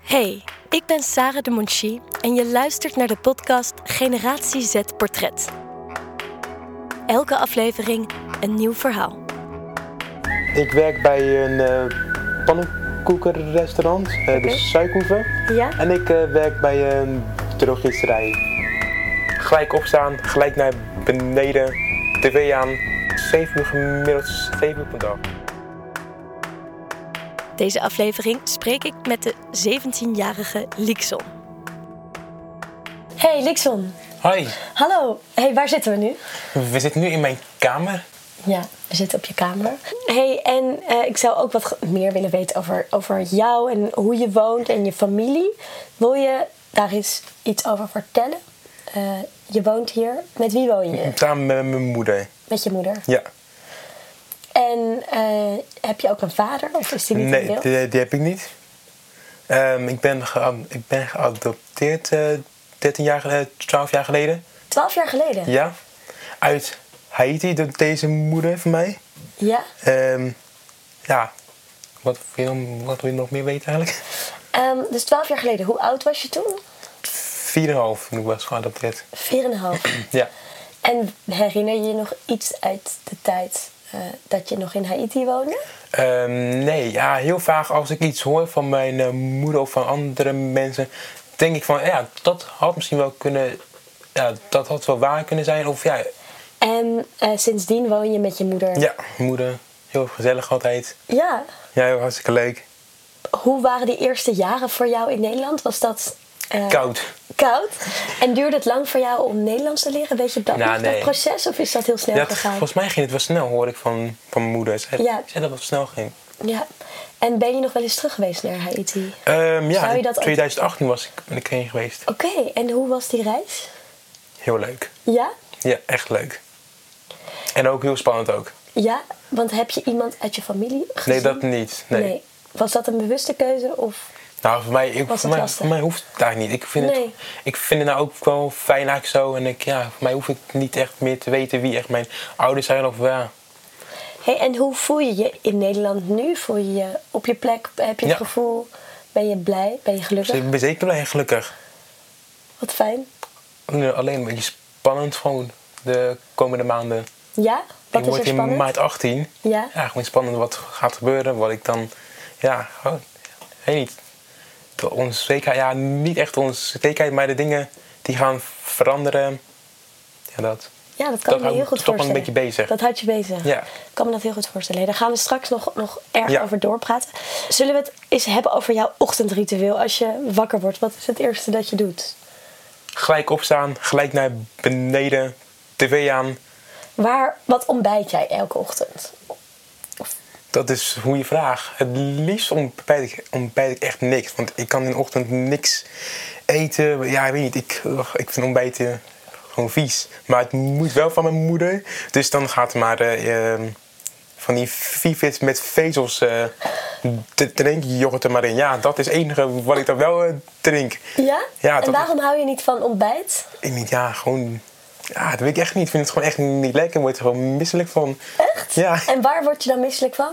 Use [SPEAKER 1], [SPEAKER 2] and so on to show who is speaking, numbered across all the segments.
[SPEAKER 1] Hey, ik ben Sarah de Monchi en je luistert naar de podcast Generatie Z Portret. Elke aflevering een nieuw verhaal.
[SPEAKER 2] Ik werk bij een eh pannenkoekenrestaurant, eh,
[SPEAKER 1] Oké.
[SPEAKER 2] dus suikhoeven.
[SPEAKER 1] Ja?
[SPEAKER 2] En ik eh, werk bij een drogisterij. Gelijk opstaan, gelijk naar beneden, tv aan. 7 uur gemiddeld, 7 uur per dag.
[SPEAKER 1] Deze aflevering spreek ik met de 17-jarige Lixon. Hey Lixon,
[SPEAKER 2] Hoi,
[SPEAKER 1] hallo. Hey, waar zitten we nu?
[SPEAKER 2] we zitten nu in mijn kamer.
[SPEAKER 1] Ja, we zitten op je kamer. Hey, en eh, ik zou ook wat ge- meer willen weten over, over jou en hoe je woont en je familie. Wil je daar eens iets over vertellen? Eh, je woont hier. Met wie woon je?
[SPEAKER 2] Samen met mijn moeder.
[SPEAKER 1] Met je moeder.
[SPEAKER 2] Ja.
[SPEAKER 1] En eh, heb je ook een vader? Of is die niet in
[SPEAKER 2] Nee,
[SPEAKER 1] beeld?
[SPEAKER 2] die, die heb ik niet. Ehm, ik, ben ge- ik ben geadopteerd eh 13 jaar, gel- eh, 12 jaar geleden.
[SPEAKER 1] Twaalf jaar geleden?
[SPEAKER 2] Ja, uit Haiti, de- deze moeder van mij.
[SPEAKER 1] Ja.
[SPEAKER 2] Ehm, ja, wat wil, je, wat wil je nog meer weten eigenlijk?
[SPEAKER 1] Ehm, dus twaalf jaar geleden. Hoe oud was je toen?
[SPEAKER 2] 4,5 toen ik was geadopteerd.
[SPEAKER 1] Vier en een half.
[SPEAKER 2] Ja.
[SPEAKER 1] En herinner je je nog iets uit de tijd eh, dat je nog in Haiti woonde?
[SPEAKER 2] Ehm, nee, ja, heel vaag als ik iets hoor van mijn eh, moeder of van andere mensen, denk ik van ja, dat had misschien wel kunnen, ja, dat had wel waar kunnen zijn. Of ja,
[SPEAKER 1] En eh, sindsdien woon je met je moeder?
[SPEAKER 2] ja moeder, heel gezellig altijd.
[SPEAKER 1] Ja.
[SPEAKER 2] Ja, heel hartstikke leuk.
[SPEAKER 1] Hoe waren die eerste jaren voor jou in Nederland? Was dat eh,
[SPEAKER 2] Koud.
[SPEAKER 1] koud? En duurde het lang voor jou om Nederlands te leren? Weet je dat,
[SPEAKER 2] Nou,
[SPEAKER 1] nog, dat
[SPEAKER 2] nee.
[SPEAKER 1] proces? Of is dat heel snel
[SPEAKER 2] Ja, het-
[SPEAKER 1] gegaan?
[SPEAKER 2] volgens mij ging het wel snel, hoorde ik van, van mijn moeder. Zij,
[SPEAKER 1] Ja.
[SPEAKER 2] zei dat het snel ging.
[SPEAKER 1] Ja. En ben je nog wel eens terug geweest naar Haiti?
[SPEAKER 2] Ehm, ja,
[SPEAKER 1] Zou je
[SPEAKER 2] in
[SPEAKER 1] dat ook- Oh.
[SPEAKER 2] 2018 was ik, ben ik heen geweest.
[SPEAKER 1] Oké, en hoe was die reis?
[SPEAKER 2] Heel leuk.
[SPEAKER 1] Ja?
[SPEAKER 2] Ja, echt leuk. En ook heel spannend ook.
[SPEAKER 1] Ja? Want heb je iemand uit je familie gezien?
[SPEAKER 2] Nee, dat niet. Nee.
[SPEAKER 1] Was dat een bewuste keuze? Of...
[SPEAKER 2] Nou, voor mij, ik,
[SPEAKER 1] Was
[SPEAKER 2] voor
[SPEAKER 1] het
[SPEAKER 2] mij,
[SPEAKER 1] lastig?
[SPEAKER 2] voor mij hoeft het daar niet. Ik vind,
[SPEAKER 1] Nee.
[SPEAKER 2] het, ik vind het nou ook wel fijn eigenlijk zo. En ik, ja, voor mij hoef ik niet echt meer te weten wie echt mijn ouders zijn. Of ja,
[SPEAKER 1] Hey, en hoe voel je je in Nederland nu? Voel je je op je plek? Heb je het
[SPEAKER 2] Ja.
[SPEAKER 1] gevoel? Ben je blij? Ben je
[SPEAKER 2] dus
[SPEAKER 1] gelukkig?
[SPEAKER 2] ik ben zeker blij en gelukkig.
[SPEAKER 1] Wat fijn.
[SPEAKER 2] Nu Alleen een beetje spannend gewoon de komende maanden.
[SPEAKER 1] Ja?
[SPEAKER 2] ik
[SPEAKER 1] Wat is
[SPEAKER 2] word
[SPEAKER 1] er
[SPEAKER 2] in
[SPEAKER 1] spannend?
[SPEAKER 2] maart 18.
[SPEAKER 1] Ja?
[SPEAKER 2] Ja, gewoon spannend wat gaat gebeuren. Wat ik dan, ja, gewoon, weet niet. De onzekerheid, ja, niet echt onzekerheid, maar de dingen die gaan veranderen. Ja, dat.
[SPEAKER 1] Ja,
[SPEAKER 2] Dat
[SPEAKER 1] dat kan ik me
[SPEAKER 2] houdt
[SPEAKER 1] heel
[SPEAKER 2] me
[SPEAKER 1] goed
[SPEAKER 2] toch wel een
[SPEAKER 1] voorstellen.
[SPEAKER 2] beetje bezig.
[SPEAKER 1] Dat houdt je bezig.
[SPEAKER 2] Ja.
[SPEAKER 1] Ik kan me dat heel goed voorstellen. Daar gaan we straks nog, nog erg
[SPEAKER 2] Ja.
[SPEAKER 1] over doorpraten. Zullen we het eens hebben over jouw ochtendritueel? Als je wakker wordt, wat is het eerste dat je doet?
[SPEAKER 2] Gelijk opstaan, gelijk naar beneden, tv aan.
[SPEAKER 1] Waar, wat ontbijt jij elke ochtend?
[SPEAKER 2] Dat is hoe je vraagt. Het liefst ontbijt ik, ontbijt ik echt niks. Want ik kan in de ochtend niks eten. Ja, ik weet niet. Ik, ugh, ik vind ontbijten gewoon vies. Maar het moet wel van mijn moeder. Dus dan gaat er maar eh, eh, van die Vivits met vezels eh te drinken. Yoghurt er maar in. Ja, dat is het enige wat ik dan wel eh, drink.
[SPEAKER 1] Ja?
[SPEAKER 2] Ja,
[SPEAKER 1] en
[SPEAKER 2] dat-
[SPEAKER 1] waarom hou je niet van ontbijt?
[SPEAKER 2] Ik niet, ja, gewoon... Ja, dat weet ik echt niet. Ik vind het gewoon echt niet lekker. Ik word er gewoon misselijk van.
[SPEAKER 1] Echt?
[SPEAKER 2] Ja.
[SPEAKER 1] En waar word je dan misselijk van?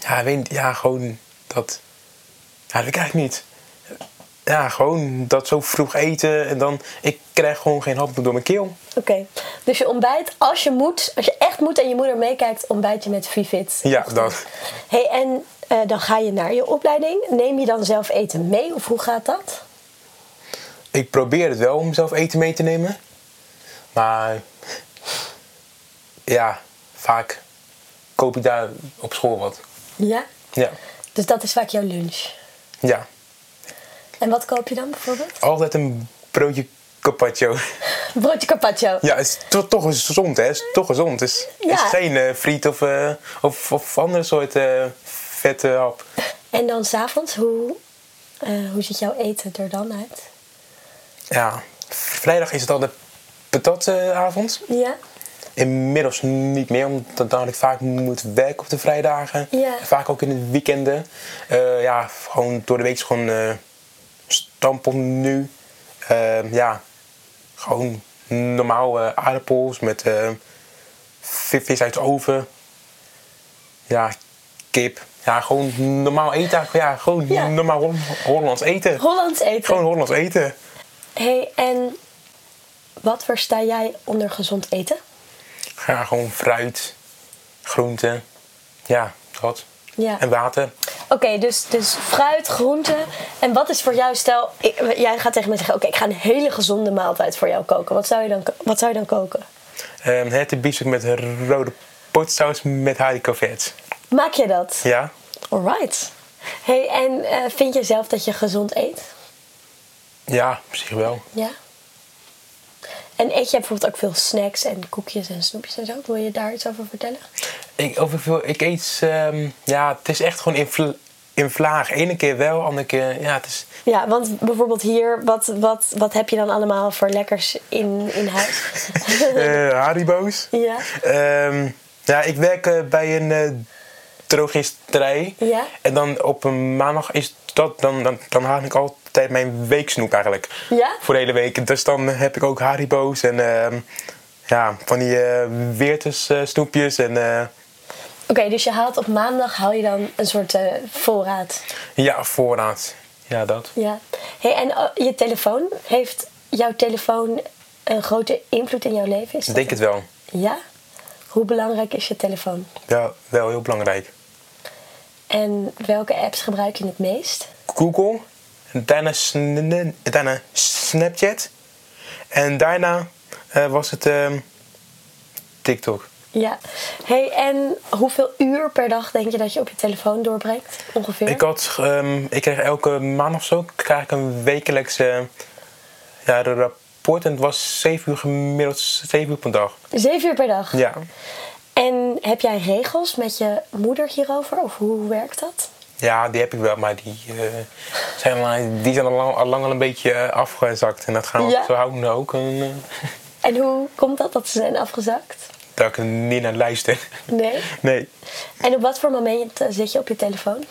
[SPEAKER 2] Ja, ik weet niet. Ja, gewoon dat. Ja, dat weet ik eigenlijk niet. Ja, gewoon dat zo vroeg eten en dan. Ik krijg gewoon geen hap door mijn keel.
[SPEAKER 1] Oké, dus je ontbijt als je moet, als je echt moet en je moeder meekijkt, ontbijt je met Vivit.
[SPEAKER 2] Ja, dat.
[SPEAKER 1] Hey, en eh, dan ga je naar je opleiding. Neem je dan zelf eten mee of hoe gaat dat?
[SPEAKER 2] Ik probeer het wel om zelf eten mee te nemen. Maar. Ja, vaak koop ik daar op school wat.
[SPEAKER 1] Ja.
[SPEAKER 2] Ja.
[SPEAKER 1] Dus dat is vaak jouw lunch.
[SPEAKER 2] Ja.
[SPEAKER 1] En wat koop je dan bijvoorbeeld?
[SPEAKER 2] Altijd een broodje carpaccio.
[SPEAKER 1] Broodje carpaccio.
[SPEAKER 2] Ja, het is to- toch gezond, hè? Het is toch gezond. Het is, het is
[SPEAKER 1] Ja.
[SPEAKER 2] geen eh, friet of, eh, of, of andere soort eh, vette hap.
[SPEAKER 1] En dan s'avonds, hoe, eh, hoe ziet jouw eten er dan uit?
[SPEAKER 2] Ja, vrijdag is het al de patatavond.
[SPEAKER 1] Ja.
[SPEAKER 2] Inmiddels niet meer, omdat dan ik vaak moet werken op de vrijdagen.
[SPEAKER 1] Ja.
[SPEAKER 2] Vaak ook in de weekenden. Eh, ja, gewoon door de week is gewoon eh stamppot nu. Eh, ja, gewoon normaal eh, aardappels met eh, vi- vis uit de oven. Ja, kip. Ja, gewoon normaal eten. eigenlijk. Ja, gewoon
[SPEAKER 1] Ja.
[SPEAKER 2] normaal Hol- Hollands eten.
[SPEAKER 1] Hollands eten.
[SPEAKER 2] Gewoon Hollands eten.
[SPEAKER 1] hey, en wat versta jij onder gezond eten?
[SPEAKER 2] Ja, gewoon fruit, groenten. Ja, dat.
[SPEAKER 1] Ja.
[SPEAKER 2] En water.
[SPEAKER 1] Oké, dus, dus fruit, groente. En wat is voor jou, stel, ik- jij gaat tegen mij zeggen: Oké, ik ga een hele gezonde maaltijd voor jou koken. Wat zou je dan, ko- wat zou je dan koken?
[SPEAKER 2] Ehm het biefstuk met rode potsaus met haricots.
[SPEAKER 1] Maak je dat?
[SPEAKER 2] Ja?
[SPEAKER 1] Alright. hey, en eh, vind je zelf dat je gezond eet?
[SPEAKER 2] Ja, op zich wel.
[SPEAKER 1] Ja. En eet jij bijvoorbeeld ook veel snacks en koekjes en snoepjes en zo? Wil je daar iets over vertellen?
[SPEAKER 2] Ik, of ik, wil- ik eet, ehm, ja, het is echt gewoon in, vla- in vlaag. Ene keer wel, andere keer, ja, het is...
[SPEAKER 1] Ja, want bijvoorbeeld hier, wat, wat, wat heb je dan allemaal voor lekkers in, in huis?
[SPEAKER 2] eh, Haribo's.
[SPEAKER 1] ja.
[SPEAKER 2] Ehm, ja, ik werk eh, bij een eh, drogisterij.
[SPEAKER 1] Ja.
[SPEAKER 2] En dan op een maandag is dat, dan, dan, dan haal ik altijd mijn weeksnoep eigenlijk.
[SPEAKER 1] Ja?
[SPEAKER 2] Voor de hele week. Dus dan heb ik ook Haribo's en ehm, ja, van die eh Weertes eh, snoepjes. En eh,
[SPEAKER 1] Oké, dus je haalt op maandag haal je dan een soort eh, voorraad.
[SPEAKER 2] ja, voorraad. Ja, dat.
[SPEAKER 1] Ja. Hey, en eh, je telefoon, heeft jouw telefoon een grote invloed in jouw leven? Is
[SPEAKER 2] Ik
[SPEAKER 1] dat
[SPEAKER 2] denk het wel.
[SPEAKER 1] Ja? Hoe belangrijk is je telefoon?
[SPEAKER 2] Ja, wel heel belangrijk.
[SPEAKER 1] En welke apps gebruik je het meest?
[SPEAKER 2] Google, daarna, sn- daarna Snapchat. En daarna eh, was het ehm, TikTok.
[SPEAKER 1] Ja. Hey, en hoeveel uur per dag denk je dat je op je telefoon doorbrengt? Ongeveer?
[SPEAKER 2] Ik, had, ehm, ik kreeg elke maand of zo krijg ik een wekelijks eh, ja, een rapport. En het was 7 uur gemiddeld, 7 uur per dag.
[SPEAKER 1] Zeven uur per dag?
[SPEAKER 2] Ja.
[SPEAKER 1] En heb jij regels met je moeder hierover? Of hoe werkt dat?
[SPEAKER 2] ja, die heb ik wel, maar die eh, zijn, al, die zijn al, lang, al lang al een beetje eh, afgezakt. En dat gaan we
[SPEAKER 1] Ja.
[SPEAKER 2] zo houden ook. En, eh,
[SPEAKER 1] En hoe komt dat dat ze zijn afgezakt?
[SPEAKER 2] dat ik er niet naar luister.
[SPEAKER 1] Nee.
[SPEAKER 2] Nee.
[SPEAKER 1] En op wat voor moment eh, zit je op je telefoon?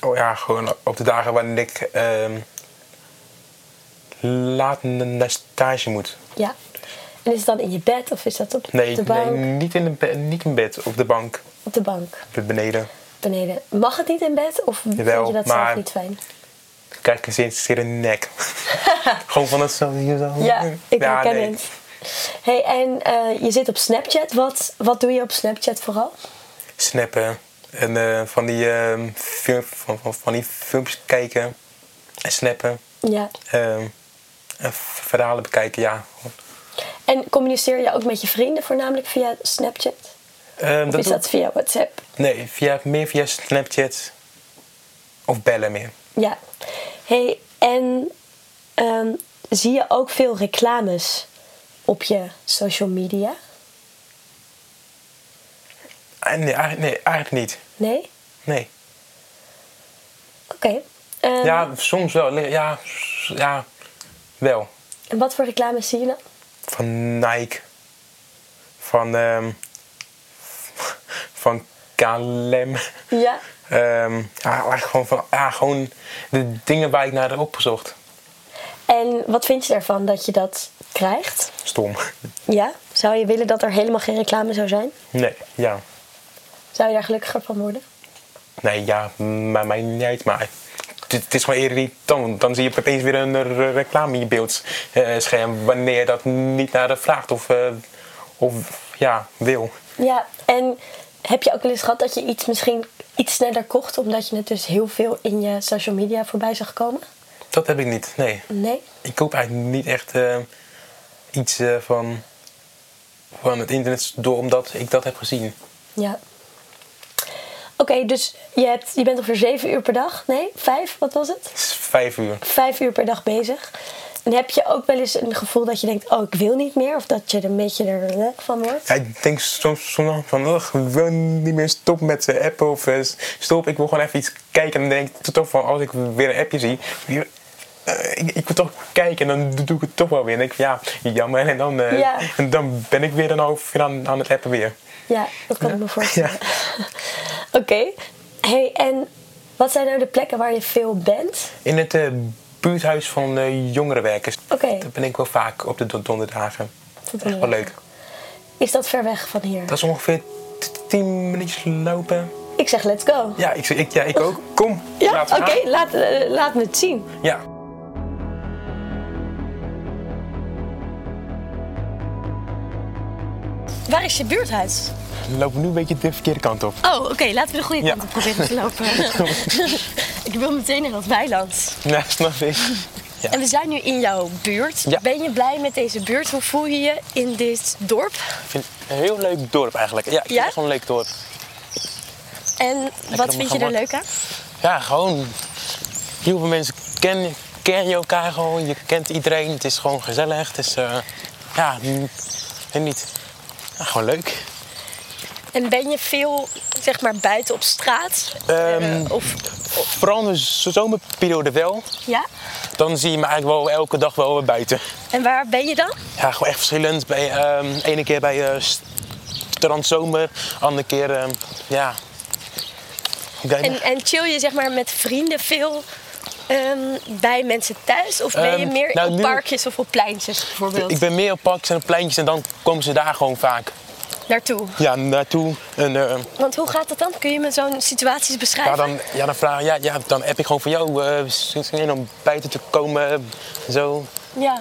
[SPEAKER 2] Oh ja, gewoon op de dagen waarin ik ehm, laat na- naar stage moet.
[SPEAKER 1] Ja. En is het dan in je bed of is dat op
[SPEAKER 2] Nee,
[SPEAKER 1] de bank?
[SPEAKER 2] nee niet, in de be- niet in bed, op de bank,
[SPEAKER 1] Op de bank,
[SPEAKER 2] be- beneden.
[SPEAKER 1] beneden. Mag het niet in bed of vind
[SPEAKER 2] Jawel,
[SPEAKER 1] je dat zelf
[SPEAKER 2] maar-
[SPEAKER 1] niet fijn?
[SPEAKER 2] Kijk eens in zeer een nek. gewoon van dat zo. hier zo.
[SPEAKER 1] Ja, ik herken
[SPEAKER 2] nee.
[SPEAKER 1] het. hey, en eh, je zit op Snapchat. Wat, wat doe je op Snapchat vooral?
[SPEAKER 2] Snappen. En eh, van, die, ehm film, van, van, van die filmpjes kijken. En snappen.
[SPEAKER 1] Ja.
[SPEAKER 2] Ehm, en v- verhalen bekijken, ja.
[SPEAKER 1] En communiceer je ook met je vrienden voornamelijk via Snapchat?
[SPEAKER 2] Ehm,
[SPEAKER 1] Of is
[SPEAKER 2] doe-
[SPEAKER 1] dat via WhatsApp?
[SPEAKER 2] Nee, via, meer via Snapchat. Of bellen meer.
[SPEAKER 1] Ja. hey, en ehm, zie je ook veel reclames op je social media?
[SPEAKER 2] Ah, Nee, eigenlijk, nee, eigenlijk niet.
[SPEAKER 1] Nee?
[SPEAKER 2] Nee.
[SPEAKER 1] Oké. Ehm,
[SPEAKER 2] Ja, soms wel. Nee, Ja, s- ja, wel.
[SPEAKER 1] En wat voor reclames zie je dan?
[SPEAKER 2] Van Nike. Van, ehm, van KLM.
[SPEAKER 1] Ja.
[SPEAKER 2] Ehm, ja, eigenlijk gewoon van ja, gewoon de dingen waar ik naar heb opgezocht.
[SPEAKER 1] En wat vind je daarvan dat je dat krijgt?
[SPEAKER 2] Stom.
[SPEAKER 1] Ja. Zou je willen dat er helemaal geen reclame zou zijn?
[SPEAKER 2] Nee, ja.
[SPEAKER 1] Zou je daar gelukkiger van worden?
[SPEAKER 2] Nee, ja, maar mij niet uit. Maar het, het is gewoon irritant. want Dan zie je opeens weer een eh, re- reclame in je beeldscherm. Wanneer je dat niet naar de vraagt of, eh, of ja, wil.
[SPEAKER 1] Ja. En heb je ook wel eens gehad dat je iets misschien iets sneller kocht omdat je het dus heel veel in je social media voorbij zag komen?
[SPEAKER 2] Dat heb ik niet, nee.
[SPEAKER 1] Nee.
[SPEAKER 2] Ik koop eigenlijk niet echt eh, iets eh, van, van het internet door omdat ik dat heb gezien.
[SPEAKER 1] Ja. Oké, dus je, hebt, je bent ongeveer zeven uur per dag. Nee, vijf, wat was het?
[SPEAKER 2] Het is vijf uur.
[SPEAKER 1] Vijf uur per dag bezig. En heb je ook wel eens een gevoel dat je denkt, oh, ik wil niet meer? Of dat je er een beetje er lek van wordt?
[SPEAKER 2] Ja, ik denk soms, soms nog van, "Ugh, ik wil niet meer stop met eh, appen of eh, stop. Ik wil gewoon even iets kijken. En dan denk ik toch van, als ik weer een appje zie, weer, eh, ik, ik wil toch kijken. En dan doe ik het toch wel weer. En ik ja, jammer. En dan, eh,
[SPEAKER 1] Ja.
[SPEAKER 2] en dan ben ik weer een half uur aan, aan het appen weer.
[SPEAKER 1] Ja, dat kan ik me voorstellen.
[SPEAKER 2] Ja.
[SPEAKER 1] Oké. hey, en wat zijn nou de plekken waar je veel bent?
[SPEAKER 2] In het eh, buurthuis van de jongerenwerkers.
[SPEAKER 1] Oké.
[SPEAKER 2] Daar ben ik wel vaak op de don- donderdagen.
[SPEAKER 1] Tot
[SPEAKER 2] Echt wel leuk.
[SPEAKER 1] Is dat ver weg van hier?
[SPEAKER 2] Dat is ongeveer 10 minuutjes lopen.
[SPEAKER 1] Ik zeg let's go.
[SPEAKER 2] Ja, ik, ik, ja, ik ook. Kom,
[SPEAKER 1] Ja,
[SPEAKER 2] laten
[SPEAKER 1] oké,
[SPEAKER 2] we gaan.
[SPEAKER 1] laat, eh, laat me het zien.
[SPEAKER 2] Ja.
[SPEAKER 1] Waar is je buurthuis?
[SPEAKER 2] We lopen nu een beetje de verkeerde kant op.
[SPEAKER 1] Oh, oké, laten we de goede
[SPEAKER 2] Ja.
[SPEAKER 1] kant op proberen te lopen. ik wil meteen naar dat weiland.
[SPEAKER 2] Ja, snap ik. Ja.
[SPEAKER 1] En we zijn nu in jouw buurt.
[SPEAKER 2] Ja.
[SPEAKER 1] Ben je blij met deze buurt? Hoe voel je je in dit dorp?
[SPEAKER 2] Ik vind het een heel leuk dorp eigenlijk. Ja, ik vind
[SPEAKER 1] Ja?
[SPEAKER 2] het gewoon een leuk dorp.
[SPEAKER 1] En wat
[SPEAKER 2] om
[SPEAKER 1] vind je
[SPEAKER 2] gaan
[SPEAKER 1] er
[SPEAKER 2] wak-
[SPEAKER 1] leuk aan?
[SPEAKER 2] Ja, gewoon. Heel veel mensen kennen ken je elkaar gewoon. Je kent iedereen. Het is gewoon gezellig. Het is, eh, ja, mm, en niet. ja, gewoon leuk.
[SPEAKER 1] En ben je veel, zeg maar, buiten op straat?
[SPEAKER 2] Ehm,
[SPEAKER 1] Eh, of,
[SPEAKER 2] Vooral in de z- zomerperiode wel.
[SPEAKER 1] ja?
[SPEAKER 2] Dan zie je me eigenlijk wel elke dag wel weer buiten.
[SPEAKER 1] En waar ben je dan?
[SPEAKER 2] Ja, gewoon echt verschillend. Bij, ehm, ene keer bij eh strand zomer, andere keer, ehm, ja. Hoe kijk je
[SPEAKER 1] En, en chill je, zeg maar, met vrienden veel ehm, bij mensen thuis? Of ben je
[SPEAKER 2] Ehm,
[SPEAKER 1] meer
[SPEAKER 2] nou,
[SPEAKER 1] op
[SPEAKER 2] nu-
[SPEAKER 1] parkjes of op pleintjes, bijvoorbeeld,
[SPEAKER 2] Ik ben meer op parks en op pleintjes en dan komen ze daar gewoon vaak
[SPEAKER 1] naartoe?
[SPEAKER 2] ja, naartoe. En eh,
[SPEAKER 1] Want hoe gaat dat dan? Kun je me zo'n situaties beschrijven?
[SPEAKER 2] ja, dan, ja, dan vraag ja, ja, dan heb ik gewoon van jou eh, zin in om buiten te komen. eh, Zo.
[SPEAKER 1] Ja.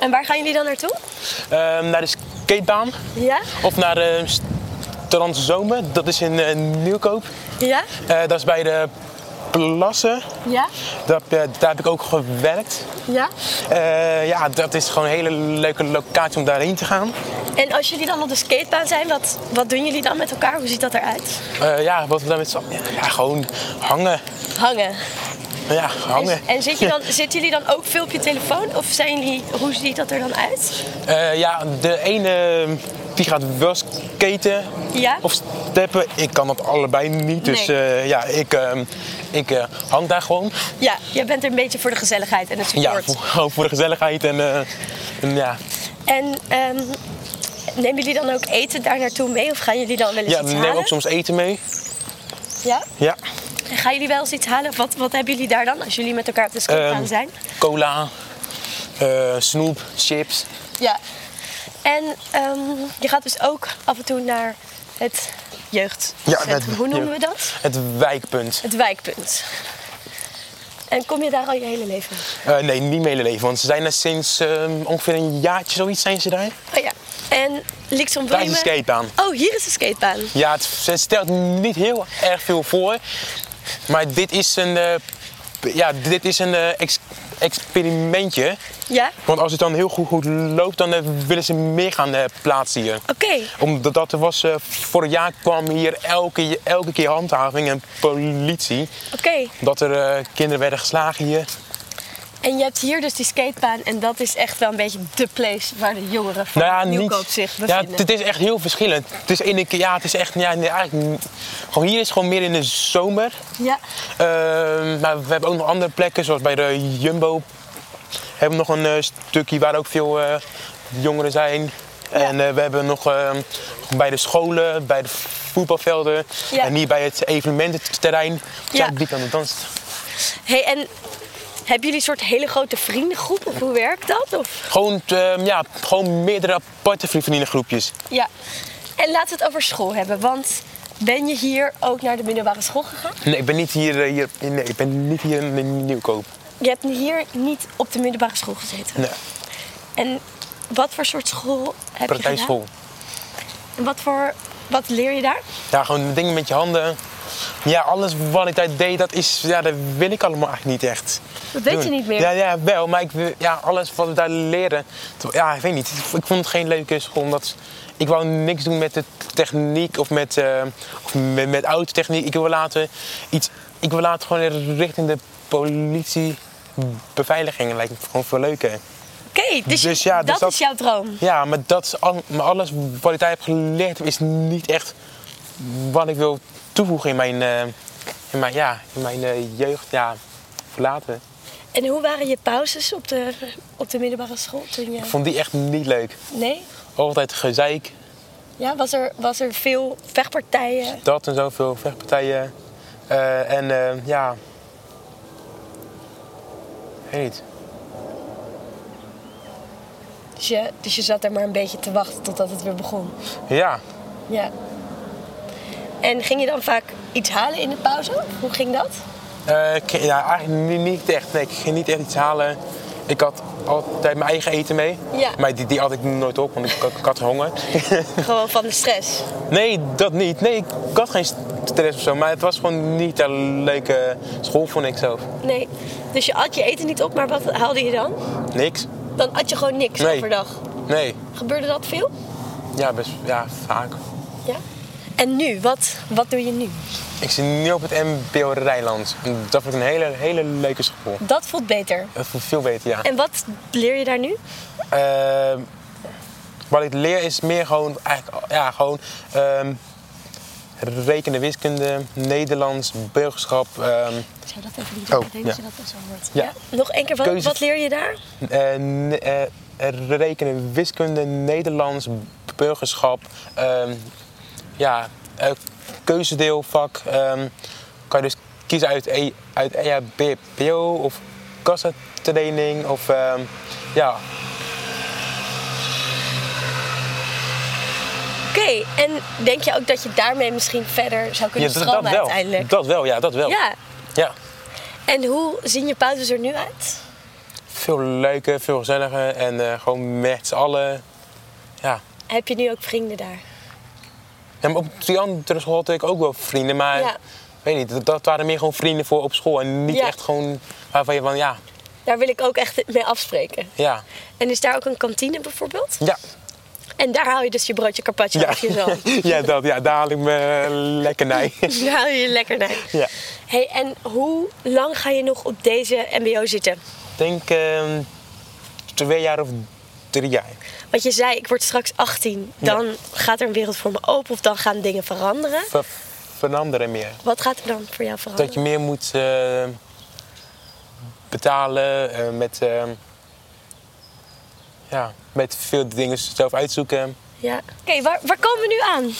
[SPEAKER 1] En waar gaan jullie dan naartoe?
[SPEAKER 2] Ehm, naar de skatebaan
[SPEAKER 1] Ja?
[SPEAKER 2] of naar de strand Zomer. Dat is in eh, Nieuwkoop.
[SPEAKER 1] Ja?
[SPEAKER 2] Eh, dat is bij de Plassen.
[SPEAKER 1] Ja?
[SPEAKER 2] Daar, heb- eh, daar heb ik ook gewerkt.
[SPEAKER 1] Ja?
[SPEAKER 2] Eh, ja, dat is gewoon een hele leuke locatie om daarheen te gaan.
[SPEAKER 1] En als jullie dan op de skatebaan zijn, wat, wat doen jullie dan met elkaar? Hoe ziet dat eruit?
[SPEAKER 2] Eh, ja, wat we dan met z'n Ja, gewoon hangen.
[SPEAKER 1] Hangen.
[SPEAKER 2] Ja, hangen.
[SPEAKER 1] En, Dus- en zit je dan, zitten jullie dan ook veel op je telefoon? Of zijn jullie, hoe ziet dat er dan uit?
[SPEAKER 2] Eh, ja, de ene ehm, die gaat wel skaten
[SPEAKER 1] Ja?
[SPEAKER 2] of steppen. Ik kan dat allebei niet. Dus
[SPEAKER 1] Nee.
[SPEAKER 2] eh, ja, ik, ehm, ik eh, hang daar gewoon.
[SPEAKER 1] Ja, jij bent er een beetje voor de gezelligheid en het
[SPEAKER 2] Ja,
[SPEAKER 1] support.
[SPEAKER 2] voor, gewoon voor de gezelligheid. En, eh, en ja,
[SPEAKER 1] En ehm, nemen jullie dan ook eten daar naartoe mee? Of gaan jullie dan wel eens
[SPEAKER 2] ja
[SPEAKER 1] iets
[SPEAKER 2] neem
[SPEAKER 1] halen?
[SPEAKER 2] ook soms eten mee.
[SPEAKER 1] Ja?
[SPEAKER 2] Ja,
[SPEAKER 1] En gaan jullie wel eens iets halen? Of Wat, wat hebben jullie daar dan als jullie met elkaar op de skatebaan
[SPEAKER 2] Ehm,
[SPEAKER 1] zijn?
[SPEAKER 2] cola, eh, snoep, chips.
[SPEAKER 1] Ja. En ehm, je gaat dus ook af en toe naar het
[SPEAKER 2] Ja,
[SPEAKER 1] jeugdcentrum.
[SPEAKER 2] het-
[SPEAKER 1] Hoe noemen we
[SPEAKER 2] ja.
[SPEAKER 1] dat?
[SPEAKER 2] Het wijkpunt.
[SPEAKER 1] Het wijkpunt. En kom je daar al je hele leven?
[SPEAKER 2] Eh, nee, niet mijn hele leven. Want ze zijn er sinds ehm, ongeveer een jaartje zoiets zijn ze daar.
[SPEAKER 1] Oh ja. En Lixon
[SPEAKER 2] Daar is de
[SPEAKER 1] Williams.
[SPEAKER 2] skatebaan.
[SPEAKER 1] Oh, hier is de skatebaan.
[SPEAKER 2] Ja, het, het stelt niet heel erg veel voor. Maar dit is een, eh, p- ja, dit is een eh, ex- experimentje.
[SPEAKER 1] Ja?
[SPEAKER 2] Want als het dan heel goed, goed loopt, dan eh, willen ze meer gaan eh, plaatsen hier.
[SPEAKER 1] Oké.
[SPEAKER 2] Omdat dat er was, eh, vorig jaar kwam hier elke, elke keer handhaving en politie.
[SPEAKER 1] Oké.
[SPEAKER 2] Dat er eh, kinderen werden geslagen hier.
[SPEAKER 1] En je hebt hier dus die skatebaan en dat is echt wel een beetje de place waar de jongeren van
[SPEAKER 2] Nou ja, niet-
[SPEAKER 1] Nieuwkoop zich
[SPEAKER 2] Ja,
[SPEAKER 1] bevinden.
[SPEAKER 2] het is echt heel verschillend. Het is, ene keer- ja, het is echt, ja, nee, eigenlijk, niet. gewoon hier is gewoon meer in de zomer.
[SPEAKER 1] ja.
[SPEAKER 2] Ehm, maar we hebben ook nog andere plekken, zoals bij de Jumbo. Hebben we nog een eh, stukje waar ook veel eh, jongeren zijn. En eh, we hebben nog ehm, bij de scholen, bij de voetbalvelden.
[SPEAKER 1] Ja.
[SPEAKER 2] En hier bij het evenemententerrein. Ja.
[SPEAKER 1] Ja.
[SPEAKER 2] die kan het dansen.
[SPEAKER 1] Hey, en hebben jullie een soort hele grote vriendengroep of hoe werkt dat? Of?
[SPEAKER 2] Gewoon, ehm, ja, gewoon meerdere aparte vriendinnengroepjes.
[SPEAKER 1] Ja. En laten we het over school hebben, want ben je hier ook naar de middelbare school gegaan?
[SPEAKER 2] Nee, ik ben niet hier, eh, hier, nee, ik ben niet hier in Nieuwkoop.
[SPEAKER 1] Je hebt hier niet op de middelbare school gezeten.
[SPEAKER 2] Nee,
[SPEAKER 1] En wat voor soort school heb je gedaan?
[SPEAKER 2] partijschool.
[SPEAKER 1] En wat, voor, wat leer je daar?
[SPEAKER 2] Ja, gewoon dingen met je handen. Ja, alles wat ik daar deed, dat, is, ja, dat wil ik allemaal eigenlijk niet echt.
[SPEAKER 1] Dat weet je
[SPEAKER 2] doen.
[SPEAKER 1] niet meer.
[SPEAKER 2] Ja, ja wel, maar ik, wil- ja, alles wat we daar leren. to- Ja, ik weet niet. Ik vond het geen leuke school. Omdat ik wou niks doen met de techniek of met, eh of met, met oude techniek. Ik wil later iets. Ik wil later gewoon richting de politie. Beveiliging lijkt me gewoon veel leuker.
[SPEAKER 1] Oké, dus,
[SPEAKER 2] Dus ja, dus
[SPEAKER 1] dat,
[SPEAKER 2] dat-
[SPEAKER 1] is jouw droom.
[SPEAKER 2] Ja, maar, dat, is al- maar alles wat ik daar heb geleerd heb, is niet echt wat ik wil toevoegen in mijn, eh, in mijn, ja, in mijn eh, jeugd. Ja, voor later.
[SPEAKER 1] En hoe waren je pauzes op de, op de middelbare school toen je...
[SPEAKER 2] Ik vond die echt niet leuk.
[SPEAKER 1] Nee?
[SPEAKER 2] Altijd gezeik,
[SPEAKER 1] Ja, was er, was er veel vechtpartijen?
[SPEAKER 2] dat en zoveel vechtpartijen. Eh, en eh, ja. Ik Weet niet.
[SPEAKER 1] Dus je, dus je zat er maar een beetje te wachten totdat het weer begon.
[SPEAKER 2] Ja,
[SPEAKER 1] Ja. En ging je dan vaak iets halen in de pauze? Hoe ging dat?
[SPEAKER 2] Eh, ik- ja, eigenlijk ni- niet echt. Nee, ik ging niet echt iets halen. Ik had altijd mijn eigen eten mee.
[SPEAKER 1] Ja.
[SPEAKER 2] Maar die, die had ik nooit op, want ik, ik, ik had honger.
[SPEAKER 1] Gewoon van de stress.
[SPEAKER 2] nee, dat niet. Nee, ik had geen stress of zo. Maar het was gewoon niet een leuke school, vond ik zelf.
[SPEAKER 1] Nee. Dus je at je eten niet op, maar wat haalde je dan?
[SPEAKER 2] Niks.
[SPEAKER 1] Dan at je gewoon niks
[SPEAKER 2] Nee.
[SPEAKER 1] overdag.
[SPEAKER 2] Nee.
[SPEAKER 1] Gebeurde dat veel?
[SPEAKER 2] Ja, best ja, vaak.
[SPEAKER 1] Ja. En nu, wat, wat doe je nu?
[SPEAKER 2] Ik zit nu op het MBO Rijnland. En Dat wordt een hele, hele leuke school.
[SPEAKER 1] Dat voelt beter.
[SPEAKER 2] Dat voelt veel beter, ja.
[SPEAKER 1] En wat leer je daar nu?
[SPEAKER 2] Ehm, wat ik leer is meer gewoon, eigenlijk, ja, gewoon ehm, rekenen, wiskunde, Nederlands, burgerschap, ehm,
[SPEAKER 1] Zou dat even niet
[SPEAKER 2] Oh, nadenken, ja.
[SPEAKER 1] dat zo wordt?
[SPEAKER 2] Ja.
[SPEAKER 1] Nog één keer, wat,
[SPEAKER 2] Keuzes.
[SPEAKER 1] wat leer je daar?
[SPEAKER 2] eh, ne- eh, rekenen, wiskunde, Nederlands, burgerschap, ehm, ja, eh, keuzedeelvak. ehm, kan je dus kiezen uit, e, uit EHBO of kassatraining of ehm, ja,
[SPEAKER 1] Oké, en denk je ook dat je daarmee misschien verder zou
[SPEAKER 2] ja
[SPEAKER 1] kunnen stromen
[SPEAKER 2] wel.
[SPEAKER 1] uiteindelijk?
[SPEAKER 2] Dat wel, ja, dat wel.
[SPEAKER 1] Ja.
[SPEAKER 2] ja.
[SPEAKER 1] En hoe zien je pauzes er nu uit?
[SPEAKER 2] Veel leuker, veel gezelliger en eh, gewoon met z'n allen. Ja.
[SPEAKER 1] Heb je nu ook vrienden daar?
[SPEAKER 2] ja maar op die andere school had ik ook wel vrienden, maar
[SPEAKER 1] Ja.
[SPEAKER 2] weet niet, dat, dat waren meer gewoon vrienden voor op school en niet
[SPEAKER 1] Ja.
[SPEAKER 2] echt gewoon waarvan je van ja,
[SPEAKER 1] Daar wil ik ook echt mee afspreken.
[SPEAKER 2] ja,
[SPEAKER 1] En is daar ook een kantine bijvoorbeeld?
[SPEAKER 2] ja.
[SPEAKER 1] En daar haal je dus je broodje carpaccio
[SPEAKER 2] Ja,
[SPEAKER 1] of je zo.
[SPEAKER 2] ja, dat, ja, daar haal ik me lekkernij.
[SPEAKER 1] Daar haal je je lekker naar.
[SPEAKER 2] ja.
[SPEAKER 1] Hey, en hoe lang ga je nog op deze MBO zitten?
[SPEAKER 2] Ik denk ehm, twee jaar of drie jaar.
[SPEAKER 1] Want je zei, ik word straks 18. Dan gaat er een wereld voor me open of dan gaan dingen veranderen.
[SPEAKER 2] Ver- veranderen meer.
[SPEAKER 1] Wat gaat er dan voor jou veranderen?
[SPEAKER 2] Dat je meer moet eh, betalen eh, met, eh, ja, met veel dingen zelf uitzoeken.
[SPEAKER 1] Ja. Oké, waar, waar komen we nu aan?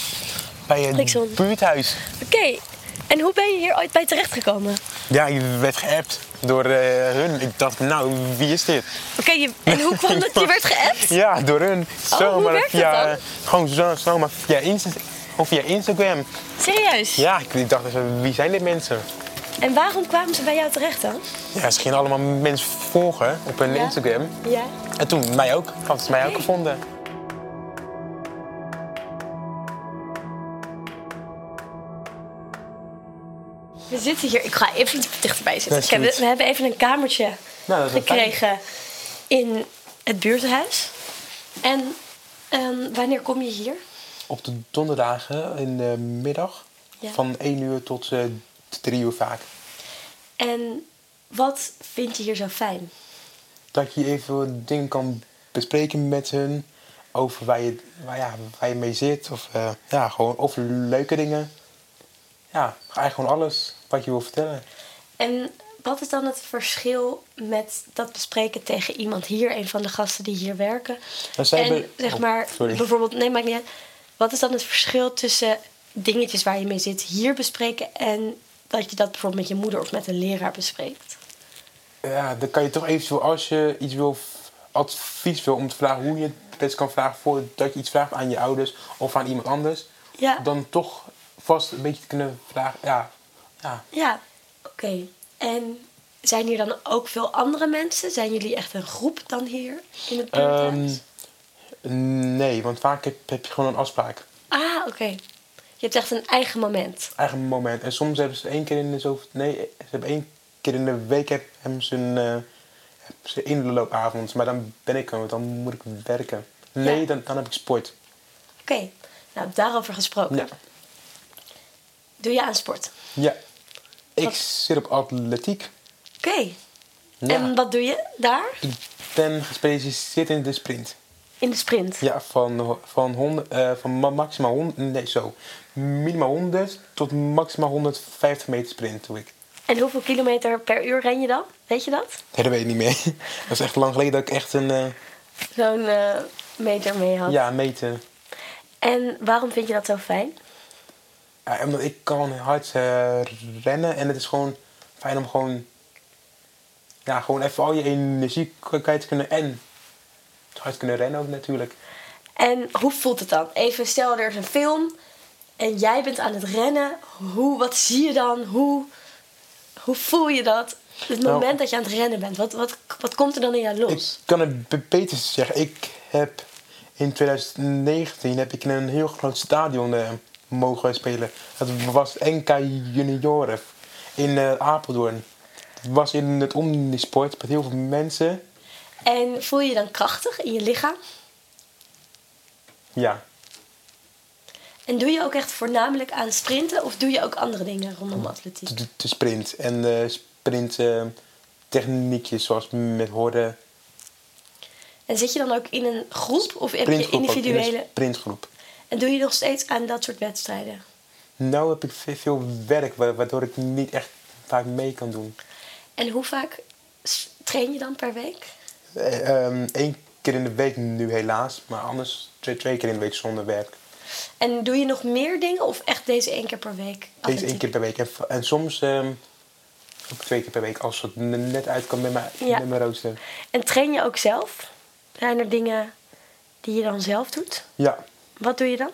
[SPEAKER 2] Bij het
[SPEAKER 1] Nixon.
[SPEAKER 2] buurthuis.
[SPEAKER 1] Oké, en hoe ben je hier ooit bij terechtgekomen?
[SPEAKER 2] Ja, je werd geappt door eh, hun. Ik dacht, nou, wie is dit?
[SPEAKER 1] Oké, je- en hoe kwam dat? Je werd geappt?
[SPEAKER 2] Ja, door hun. Zomaar
[SPEAKER 1] Oh, werkt dat
[SPEAKER 2] via,
[SPEAKER 1] dan?
[SPEAKER 2] Gewoon zo, zomaar via, Insta of via Instagram.
[SPEAKER 1] Serieus?
[SPEAKER 2] Ja, ik ik dacht, even, wie zijn dit mensen?
[SPEAKER 1] En waarom kwamen ze bij jou terecht dan?
[SPEAKER 2] Ja, ze gingen allemaal mensen volgen op hun
[SPEAKER 1] Ja.
[SPEAKER 2] Instagram.
[SPEAKER 1] Ja.
[SPEAKER 2] En toen mij ook. Hadden ze mij ook
[SPEAKER 1] Oké.
[SPEAKER 2] gevonden.
[SPEAKER 1] We zitten hier. Ik ga even dichterbij zitten.
[SPEAKER 2] Dat is
[SPEAKER 1] Ik heb-
[SPEAKER 2] goed.
[SPEAKER 1] we hebben even een kamertje
[SPEAKER 2] Nou, dat is wel
[SPEAKER 1] gekregen in het buurthuis. En ehm, wanneer kom je hier?
[SPEAKER 2] Op de donderdagen in de middag.
[SPEAKER 1] Ja.
[SPEAKER 2] Van 1 uur tot eh 3 uur vaak.
[SPEAKER 1] En wat vind je hier zo fijn?
[SPEAKER 2] Dat je even dingen kan bespreken met hun. Over waar je, waar, ja, waar je mee zit. Of eh, ja, gewoon over leuke dingen. Ja, eigenlijk gewoon alles wat je wil vertellen.
[SPEAKER 1] En wat is dan het verschil met dat bespreken tegen iemand hier, een van de gasten die hier werken?
[SPEAKER 2] Nou, zij
[SPEAKER 1] en
[SPEAKER 2] hebben-
[SPEAKER 1] zeg
[SPEAKER 2] oh,
[SPEAKER 1] maar,
[SPEAKER 2] sorry.
[SPEAKER 1] bijvoorbeeld, nee, maakt niet uit. Wat is dan het verschil tussen dingetjes waar je mee zit hier bespreken en dat je dat bijvoorbeeld met je moeder of met een leraar bespreekt?
[SPEAKER 2] Ja, dan kan je toch eventueel als je iets wil, advies wil om te vragen hoe je het best kan vragen voordat je iets vraagt aan je ouders of aan iemand anders.
[SPEAKER 1] Ja.
[SPEAKER 2] Dan toch vast een beetje te kunnen vragen. Ja, ja.
[SPEAKER 1] Ja, oké. En zijn hier dan ook veel andere mensen? Zijn jullie echt een groep dan hier in het buurthuis?
[SPEAKER 2] Ehm, Nee, want vaak heb, heb je gewoon een afspraak.
[SPEAKER 1] Ah, oké. Je hebt echt een eigen moment.
[SPEAKER 2] Eigen moment. En soms hebben ze één keer in de zoveel... Nee, ze hebben één keer in de week heb, hebben ze een eh, hebben ze inloopavond. Maar dan ben ik er, want dan moet ik werken. Nee,
[SPEAKER 1] Ja.
[SPEAKER 2] dan, dan heb ik sport.
[SPEAKER 1] Oké, nou daarover gesproken.
[SPEAKER 2] Ja.
[SPEAKER 1] Doe je aan sport?
[SPEAKER 2] ja. Ik
[SPEAKER 1] Wat-
[SPEAKER 2] zit op atletiek.
[SPEAKER 1] Oké.
[SPEAKER 2] Ja.
[SPEAKER 1] En wat doe je daar?
[SPEAKER 2] Ik ben gespecialiseerd in de sprint.
[SPEAKER 1] In de sprint.
[SPEAKER 2] Ja, van, van, 100, eh, van ma- maximaal 100, nee zo, minimaal 100 tot maximaal 150 meter sprint doe ik.
[SPEAKER 1] En hoeveel kilometer per uur ren je dan? Weet je dat?
[SPEAKER 2] Ja, dat weet ik niet meer. Dat is echt lang geleden dat ik echt een eh,
[SPEAKER 1] Zo'n eh, meter mee had.
[SPEAKER 2] ja, meter.
[SPEAKER 1] En waarom vind je dat zo fijn?
[SPEAKER 2] Ja, omdat ik kan hard eh, rennen en het is gewoon fijn om gewoon, ja, gewoon even al je energie k- kwijt te kunnen en hard kunnen rennen ook natuurlijk.
[SPEAKER 1] En hoe voelt het dan? Even stel, er is een film En jij bent aan het rennen. Hoe, wat zie je dan? Hoe, hoe voel je dat? Het
[SPEAKER 2] Nou.
[SPEAKER 1] moment dat je aan het rennen bent. Wat, wat, wat komt er dan in jou
[SPEAKER 2] Ik
[SPEAKER 1] los?
[SPEAKER 2] kan het be- beter zeggen. Ik heb in 2019 heb ik in een heel groot stadion eh, mogen spelen. Het was NK Junioren in eh, Apeldoorn. Het was in het Omnisport met heel veel mensen.
[SPEAKER 1] En voel je je dan krachtig in je lichaam?
[SPEAKER 2] Ja,
[SPEAKER 1] En doe je ook echt voornamelijk aan sprinten? Of doe je ook andere dingen rondom atletiek?
[SPEAKER 2] de, de- de sprint en eh sprint eh, techniekjes zoals met horen.
[SPEAKER 1] En zit je dan ook in een groep? Of heb je
[SPEAKER 2] Printgroep ook, in een
[SPEAKER 1] individuele...
[SPEAKER 2] sprintgroep.
[SPEAKER 1] En doe je nog steeds aan dat soort wedstrijden?
[SPEAKER 2] Nou heb ik ve- veel werk wa- waardoor ik niet echt vaak mee kan doen.
[SPEAKER 1] En hoe vaak s- train je dan per week?
[SPEAKER 2] Eén Eh, ehm, keer in de week nu helaas, maar anders twee, twee keer in de week zonder werk.
[SPEAKER 1] En doe je nog meer dingen of echt deze één keer per week?
[SPEAKER 2] Eens
[SPEAKER 1] atletiek?
[SPEAKER 2] één keer per week. En, v- en soms ehm, ook twee keer per week als het n- net uit kan met mijn,
[SPEAKER 1] Ja.
[SPEAKER 2] met mijn rooster.
[SPEAKER 1] En train je ook zelf? Zijn er dingen die je dan zelf doet?
[SPEAKER 2] Ja,
[SPEAKER 1] Wat doe je dan?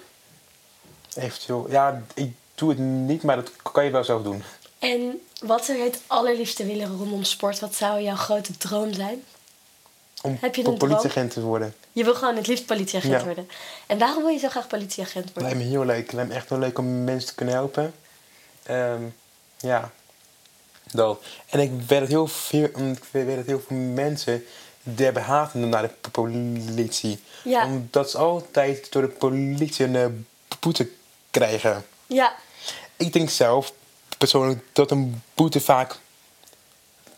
[SPEAKER 2] eventueel. Ja, ik doe het niet, maar dat kan je wel zelf doen.
[SPEAKER 1] En wat zou je het allerliefste willen rondom sport? Wat zou jouw grote droom zijn?
[SPEAKER 2] Om
[SPEAKER 1] Heb je
[SPEAKER 2] po-
[SPEAKER 1] een droom?
[SPEAKER 2] politieagent te worden.
[SPEAKER 1] Je wil gewoon het liefst politieagent
[SPEAKER 2] Ja.
[SPEAKER 1] worden. En waarom wil je zo graag politieagent worden?
[SPEAKER 2] Lijkt me heel leuk. Lijkt me echt heel leuk om mensen te kunnen helpen. Ehm, ja. Dat. En ik weet dat heel veel, mm, ik weet dat heel veel mensen die hebben haat naar de p- politie.
[SPEAKER 1] Ja.
[SPEAKER 2] Omdat ze altijd door de politie een eh, boete krijgen.
[SPEAKER 1] Ja,
[SPEAKER 2] Ik denk zelf persoonlijk dat een boete vaak...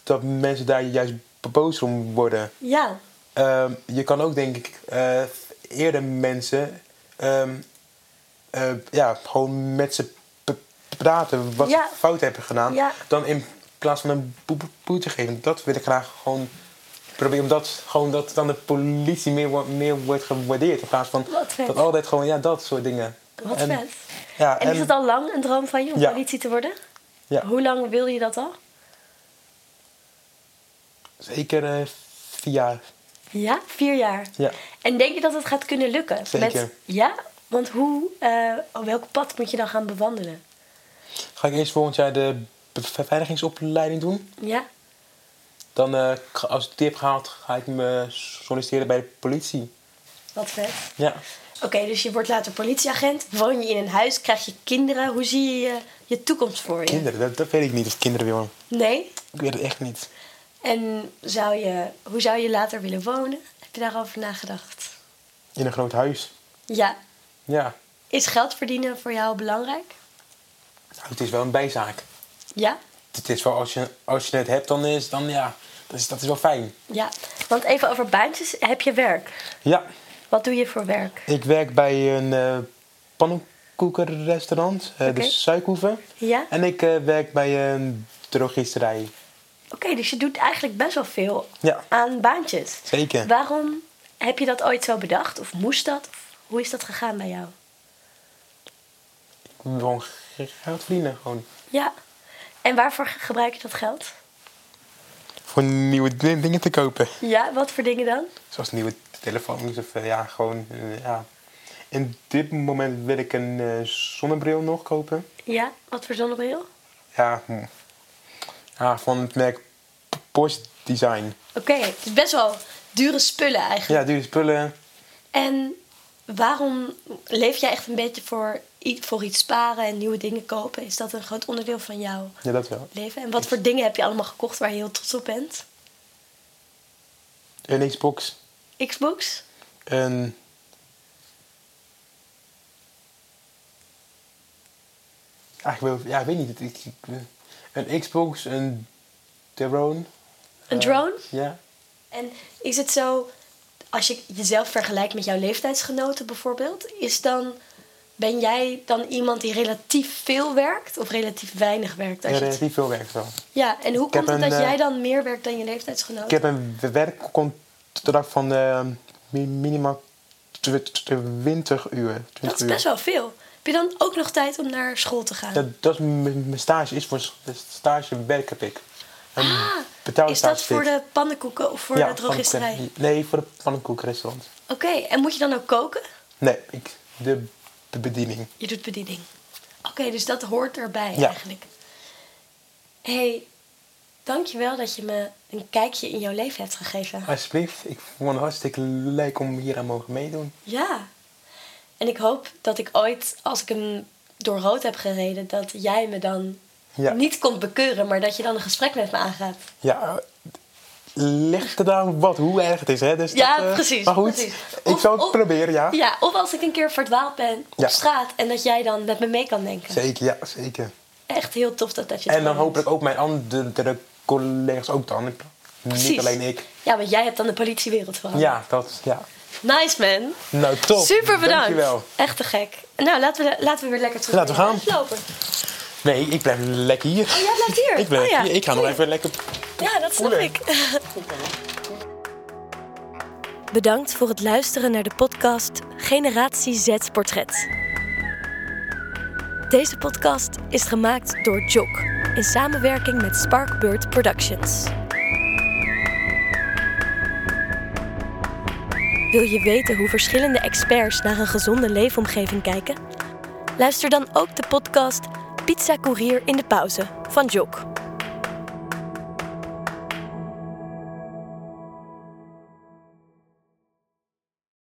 [SPEAKER 2] dat mensen daar juist boos om worden.
[SPEAKER 1] ja.
[SPEAKER 2] Ehm, je kan ook, denk ik, eh, eerder mensen ehm, eh, ja, gewoon met ze p- praten wat
[SPEAKER 1] Ja.
[SPEAKER 2] ze fout hebben gedaan,
[SPEAKER 1] Ja.
[SPEAKER 2] dan in plaats van een bo- bo- boete geven. Dat wil ik graag gewoon proberen, omdat gewoon dat dan de politie meer, wo- meer wordt gewaardeerd in plaats van
[SPEAKER 1] Wat vet.
[SPEAKER 2] dat altijd gewoon, ja, dat soort dingen.
[SPEAKER 1] Wat
[SPEAKER 2] En-
[SPEAKER 1] vet.
[SPEAKER 2] Ja,
[SPEAKER 1] En is het al lang een droom van je om
[SPEAKER 2] Ja.
[SPEAKER 1] politie te worden?
[SPEAKER 2] Ja.
[SPEAKER 1] Hoe lang wil je dat al?
[SPEAKER 2] Zeker eh, vier jaar.
[SPEAKER 1] Ja, vier jaar.
[SPEAKER 2] Ja.
[SPEAKER 1] En denk je dat het gaat kunnen lukken?
[SPEAKER 2] Zeker.
[SPEAKER 1] ja? Want hoe, eh, welk pad moet je dan gaan bewandelen?
[SPEAKER 2] Ga ik eerst volgend jaar de beveiligingsopleiding doen.
[SPEAKER 1] Ja?
[SPEAKER 2] Dan, eh, ga- als ik die heb gehaald, ga ik me solliciteren bij de politie.
[SPEAKER 1] Wat vet.
[SPEAKER 2] Ja.
[SPEAKER 1] Oké, dus je wordt later politieagent. Woon je in een huis, krijg je kinderen. Hoe zie je je, je toekomst voor je?
[SPEAKER 2] Kinderen, dat, dat weet ik niet of ik kinderen wil.
[SPEAKER 1] Nee?
[SPEAKER 2] Ik weet het echt niet.
[SPEAKER 1] En zou je, hoe zou je later willen wonen? Heb je daarover nagedacht?
[SPEAKER 2] In een groot huis.
[SPEAKER 1] Ja.
[SPEAKER 2] Ja.
[SPEAKER 1] Is geld verdienen voor jou belangrijk?
[SPEAKER 2] Nou, het is wel een bijzaak.
[SPEAKER 1] Ja?
[SPEAKER 2] Het is wel, als je, als je het hebt, dan is, dan, ja, dat, is, dat is wel fijn.
[SPEAKER 1] Ja. Want even over baantjes. Heb je werk?
[SPEAKER 2] Ja.
[SPEAKER 1] Wat doe je voor werk?
[SPEAKER 2] Ik werk bij een eh pannenkoekenrestaurant, eh,
[SPEAKER 1] Oké.
[SPEAKER 2] de Suikhoeven.
[SPEAKER 1] Ja?
[SPEAKER 2] En ik eh, werk bij een drogisterij.
[SPEAKER 1] Oké, dus je doet eigenlijk best wel veel
[SPEAKER 2] Ja.
[SPEAKER 1] aan baantjes.
[SPEAKER 2] Zeker.
[SPEAKER 1] Waarom heb je dat ooit zo bedacht? Of moest dat? Of hoe is dat gegaan bij jou?
[SPEAKER 2] Gewoon geld verdienen, gewoon.
[SPEAKER 1] Ja. En waarvoor ge- gebruik je dat geld?
[SPEAKER 2] Voor nieuwe di- dingen te kopen.
[SPEAKER 1] Ja, wat voor dingen dan?
[SPEAKER 2] Zoals nieuwe telefoons of eh, ja, gewoon, eh, ja. In dit moment wil ik een eh, zonnebril nog kopen.
[SPEAKER 1] Ja, wat voor zonnebril? Oké,
[SPEAKER 2] Ja, hm. ja van het merk P- Porsche Design.
[SPEAKER 1] het is best wel dure spullen eigenlijk.
[SPEAKER 2] Ja, dure spullen.
[SPEAKER 1] En waarom leef jij echt een beetje voor, i- voor iets sparen en nieuwe dingen kopen? Is dat een groot onderdeel van jouw
[SPEAKER 2] Ja, dat wel.
[SPEAKER 1] leven? En wat voor dingen heb je allemaal gekocht waar je heel trots op bent?
[SPEAKER 2] Een Xbox.
[SPEAKER 1] Xbox?
[SPEAKER 2] Een... Ah, ik wil, ja, ik weet niet. Ik, ik- een Xbox, een drone. eh,
[SPEAKER 1] Een drone?
[SPEAKER 2] Ja.
[SPEAKER 1] En is het zo, als je jezelf vergelijkt met jouw leeftijdsgenoten bijvoorbeeld, is dan, ben jij dan iemand die relatief veel werkt of relatief weinig werkt?
[SPEAKER 2] En
[SPEAKER 1] Als je het-
[SPEAKER 2] relatief veel werk wel.
[SPEAKER 1] ja, en hoe
[SPEAKER 2] Ik
[SPEAKER 1] komt
[SPEAKER 2] heb
[SPEAKER 1] het dat
[SPEAKER 2] een, eh,
[SPEAKER 1] jij dan meer werkt dan je
[SPEAKER 2] Ik
[SPEAKER 1] leeftijdsgenoten?
[SPEAKER 2] heb een werkcontract van eh, mi- minimaal tw- tw- 20 uur. 20
[SPEAKER 1] Dat is
[SPEAKER 2] uur.
[SPEAKER 1] best wel veel. Heb je dan ook nog tijd om naar school te gaan?
[SPEAKER 2] Dat, dat is m- mijn stage is voor s- stage werk heb ik. Een
[SPEAKER 1] Ah,
[SPEAKER 2] betaalde
[SPEAKER 1] is dat
[SPEAKER 2] stage
[SPEAKER 1] voor
[SPEAKER 2] dit.
[SPEAKER 1] de pannenkoeken of voor
[SPEAKER 2] Ja, van
[SPEAKER 1] de
[SPEAKER 2] het-
[SPEAKER 1] drogisterij? Oké,
[SPEAKER 2] Nee, voor de pannenkoekrestaurant.
[SPEAKER 1] en moet je dan ook koken?
[SPEAKER 2] Nee, ik, de de bediening.
[SPEAKER 1] Je doet bediening. Oké, dus dat hoort erbij
[SPEAKER 2] Ja.
[SPEAKER 1] eigenlijk. Hé, hey, dankjewel dat je me een kijkje in jouw leven hebt gegeven.
[SPEAKER 2] Alsjeblieft, ik vond het hartstikke leuk om hier aan mogen meedoen.
[SPEAKER 1] Ja. En ik hoop dat ik ooit, als ik hem door rood heb gereden, dat jij me dan
[SPEAKER 2] Ja.
[SPEAKER 1] niet komt bekeuren, maar dat je dan een gesprek met me aangaat.
[SPEAKER 2] Ja, ligt er dan wat hoe erg het is, hè? Dus
[SPEAKER 1] Ja,
[SPEAKER 2] dat, eh,
[SPEAKER 1] precies.
[SPEAKER 2] Maar goed,
[SPEAKER 1] precies.
[SPEAKER 2] ik
[SPEAKER 1] Of-
[SPEAKER 2] zal het
[SPEAKER 1] of-
[SPEAKER 2] proberen, ja.
[SPEAKER 1] Ja, of als ik een keer verdwaald ben op
[SPEAKER 2] Ja.
[SPEAKER 1] straat en dat jij dan met me mee kan denken.
[SPEAKER 2] Zeker, ja, zeker.
[SPEAKER 1] Echt heel tof dat, dat je het
[SPEAKER 2] En dan
[SPEAKER 1] gewoon
[SPEAKER 2] hopelijk ook mijn andere collega's ook dan. Ik-
[SPEAKER 1] doet.
[SPEAKER 2] Niet alleen ik.
[SPEAKER 1] Ja, want jij hebt dan de politiewereld veranderd.
[SPEAKER 2] Ja, dat, ja.
[SPEAKER 1] Nice man.
[SPEAKER 2] Nou, top.
[SPEAKER 1] Super bedankt.
[SPEAKER 2] Dankjewel.
[SPEAKER 1] Echt te gek. Nou, laten we, laten we weer lekker terug
[SPEAKER 2] Laten we
[SPEAKER 1] naar de
[SPEAKER 2] gaan.
[SPEAKER 1] lopen.
[SPEAKER 2] Nee, ik blijf lekker hier.
[SPEAKER 1] Oh, jij blijft hier?
[SPEAKER 2] Ik, blijf
[SPEAKER 1] Oh, ja.
[SPEAKER 2] hier. ik ga nog
[SPEAKER 1] Goeie.
[SPEAKER 2] even lekker...
[SPEAKER 1] Ja, dat snap
[SPEAKER 2] Oké.
[SPEAKER 1] ik. Bedankt voor het luisteren naar de podcast Generatie Z Portret. Deze podcast is gemaakt door Jock in samenwerking met Sparkbird Productions. Wil je weten hoe verschillende experts naar een gezonde leefomgeving kijken? Luister dan ook de podcast Pizza Courier in de Pauze van Jock.